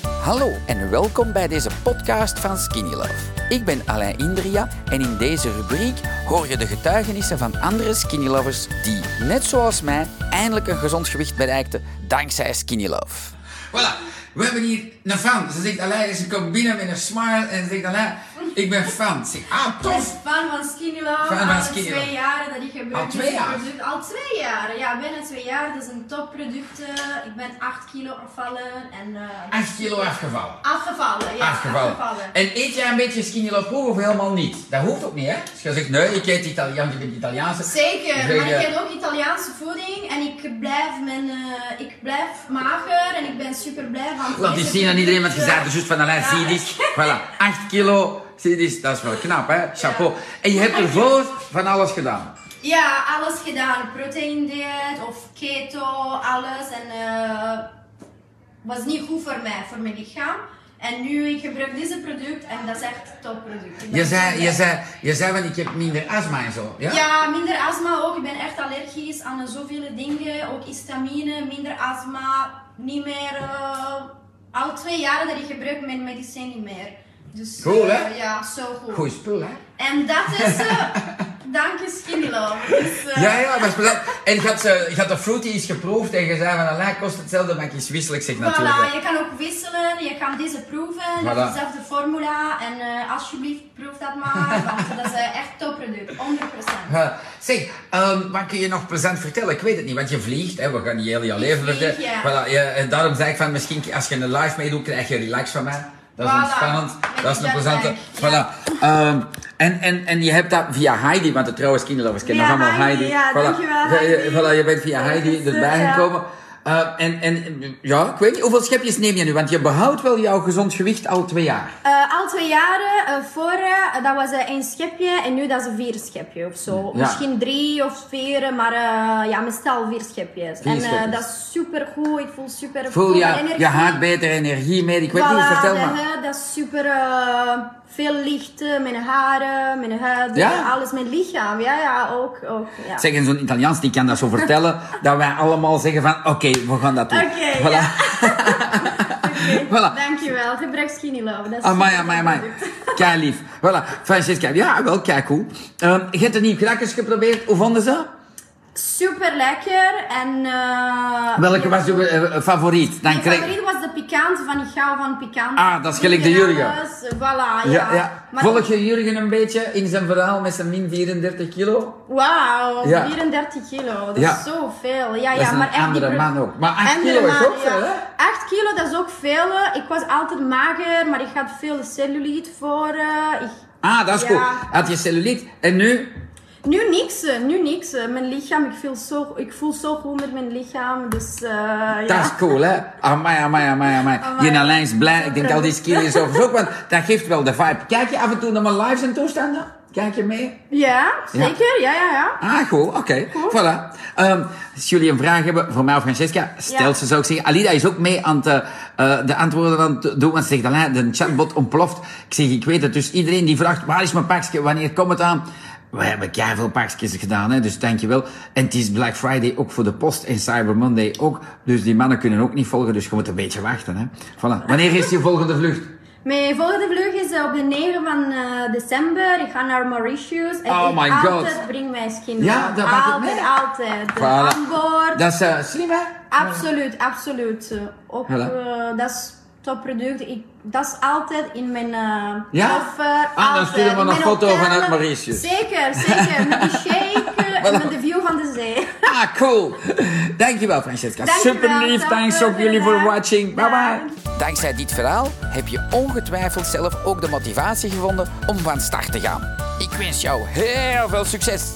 Hallo en welkom bij deze podcast van Skinny Love. Ik ben Alain Indria en in deze rubriek hoor je de getuigenissen van andere Skinny Lovers die, net zoals mij, eindelijk een gezond gewicht bereikten dankzij Skinny Love. Voilà, we hebben hier een fan. Ze zegt alleen, ze komt binnen met een smile en ze zegt alleen, ik ben fan. Ze zegt, ah, tof! Fan van Skinny Love. Fan van al Skinny twee Love. jaren dat ik gebruik. Al dit twee jaar? product. Al twee jaar, ja, bijna twee jaar. Het is een topproduct. eh, Ik ben 8 kilo afvallen en... eh, 8 kilo afgevallen. Afgevallen, ja. Afgevallen. afgevallen. En eet jij een beetje skinny love proeven of helemaal niet? Dat hoeft ook niet, hè? Als je zegt, nee, ik eet Italiaans, ik ben Italiaanse. Zeker, Zeg maar je- ik heb ook Italiaanse voeding en ik blijf, mijn, eh, ik blijf mager en ik ben super blij van Laat eens deze zien aan iedereen, want je producten. zei er juist van Alain, zie je dit? Voilà, 8 kilo, zie je dit? Dat is wel knap, hè? Chapeau. En je hebt ervoor van alles gedaan. Ja, alles gedaan. Proteïndieet of keto, alles. En eh, was niet goed voor mij, voor mijn lichaam. En nu ik gebruik deze product en dat is echt een topproduct. Ik ben Je zei, blij. je zei, je zei van, ik heb minder astma en zo, ja? Ja, minder astma ook. Ik ben echt allergisch aan zoveel dingen. Ook histamine, minder astma. Niet meer... eh, al twee jaren dat ik gebruik mijn medicijn niet meer. Dus, Cool, hè? eh, ja, zo goed. Goeie spul, hè? En dat is... eh dank je, Skinny Love. Dus, eh, Ja, ja, maar is belangrijk. En je had, ze, je had de fruity eens geproefd en je zei van, "Allee, kost hetzelfde, maar ik is wisselijk, zeg natuurlijk. Voilà, je kan ook wisselen, je kan deze proeven, dat Voilà. is dezelfde formule. En eh, alsjeblieft, proef dat maar, want dat is eh, echt topproduct, 100%. Ja. Zeg, ehm, wat kun je nog plezant vertellen? Ik weet het niet, want je vliegt, hè, we gaan niet heel je leven vlieg, vertellen. ja. Voilà, ja, en daarom zei ik van, misschien als je een live meedoet, krijg je relax van mij. Dat is Voilà. ontspannend, dat is een Dat plezante. ben ik, ja. Voilà. Ehm, en, en, en je hebt dat via Heidi, want de trouwe kinderlovers kennen Via allemaal Heidi. Heidi, ja, voilà. dankjewel, Je- je- Heidi. Voilà, je bent via Dat Heidi is, eh, erbij ja. gekomen. Eh, en, en ja, ik weet niet, hoeveel schepjes neem je nu? Want je behoudt wel jouw gezond gewicht al twee jaar. Eh, al twee jaren, eh, voor eh, dat was eh, één schepje en nu dat is een vier schepje of zo. Ja. Misschien drie of vier, eh, maar eh, ja, meestal vier schepjes. Vier en eh, schepjes. dat is super goed, ik voel super Voel je, energie. je haat beter energie mee. Ik weet niet, Voilà, vertel de maar. huid, dat is super eh, veel licht, eh, mijn haren, mijn huid, eh, Ja? alles, mijn lichaam. Ja, ja, ook. ook ja. Zeg, en zo'n Italiaans die kan dat zo vertellen, dat wij allemaal zeggen van, oké, we gaan dat doen. Oké, voilà. ja. Voilà. Dankjewel, gebruik Skinny Love. Dat is Amai, super amai, amai. product. Kei lief. Voilà. Francesca, ja, wel kijk hoe. je hebt de nieuwe krakjes geprobeerd, hoe vonden ze? Super lekker en... eh, Welke ja, was je eh, favoriet? Dan Mijn kreeg- favoriet was de pikant van ik hou van pikant. Ah, dat is gelijk de Jurgen. Dus, eh, Voilà, ja. Ja, ja. Maar- Volg je Jurgen een beetje in zijn verhaal met zijn min 34 kilo? Wauw, Ja. 34 kilo, dat Ja. is zoveel. Ja, Dat ja, is een maar echt die andere pro- man ook. Maar acht Andere kilo is man, ook veel, hè? 8 kilo, dat is ook veel. hè. Ik was altijd mager, maar ik had veel cellulite voor. eh, ik- Ah, dat is Ja. goed. Had je celluliet en nu? Nu niks, eh, nu niks. eh. Mijn lichaam, ik voel zo, ik voel zo goed met mijn lichaam, dus eh, Dat ja. is cool, hè? Amai, amai, amai, amai. Amai. Die Alain is blij. Ik denk al die skills over ook, want dat geeft wel de vibe. Kijk je af en toe naar mijn lives en toestanden? Kijk je mee? Ja, zeker, ja, ja, ja. Ah, goed, oké. Voilà. Ehm, als jullie een vraag hebben voor mij of Francesca, stel Ja. ze, zou ik zeggen. Alida is ook mee aan het, eh, eh, de antwoorden aan het doen, want ze zegt, Alain, de chatbot ontploft. Ik zeg, ik weet het. Dus iedereen die vraagt, waar is mijn pakje, wanneer komt het aan? We hebben veel pakjes gedaan, hè, dus dankjewel. En het is Black Friday ook voor de post en Cyber Monday ook. Dus die mannen kunnen ook niet volgen, dus je moet een beetje wachten. Hè. Voilà. Wanneer is je volgende vlucht? Mijn volgende vlug is eh, op de 9 van eh, december. Ik ga naar Mauritius. En Oh ik my God. altijd breng mijn skin Ja, op. dat maakt het Altijd, mee. altijd. Voilà. Aan boord. Dat is eh, slim, hè? Absoluut, absoluut. Eh, Ook, Voilà. eh, dat is topproduct. Ik, dat is altijd in mijn eh, Ja? koffer. Ah, dan altijd. sturen we In een mijn foto hotel. vanuit Mauritius. Zeker, zeker. Met die shake eh, en met de view van de zee. Ah, cool. Dankjewel, Francesca. Dankjewel, Super lief. Sander. Thanks ook jullie voor Dag. watching. Bye Dag. bye. Dankzij dit verhaal heb je ongetwijfeld zelf ook de motivatie gevonden om van start te gaan. Ik wens jou heel veel succes!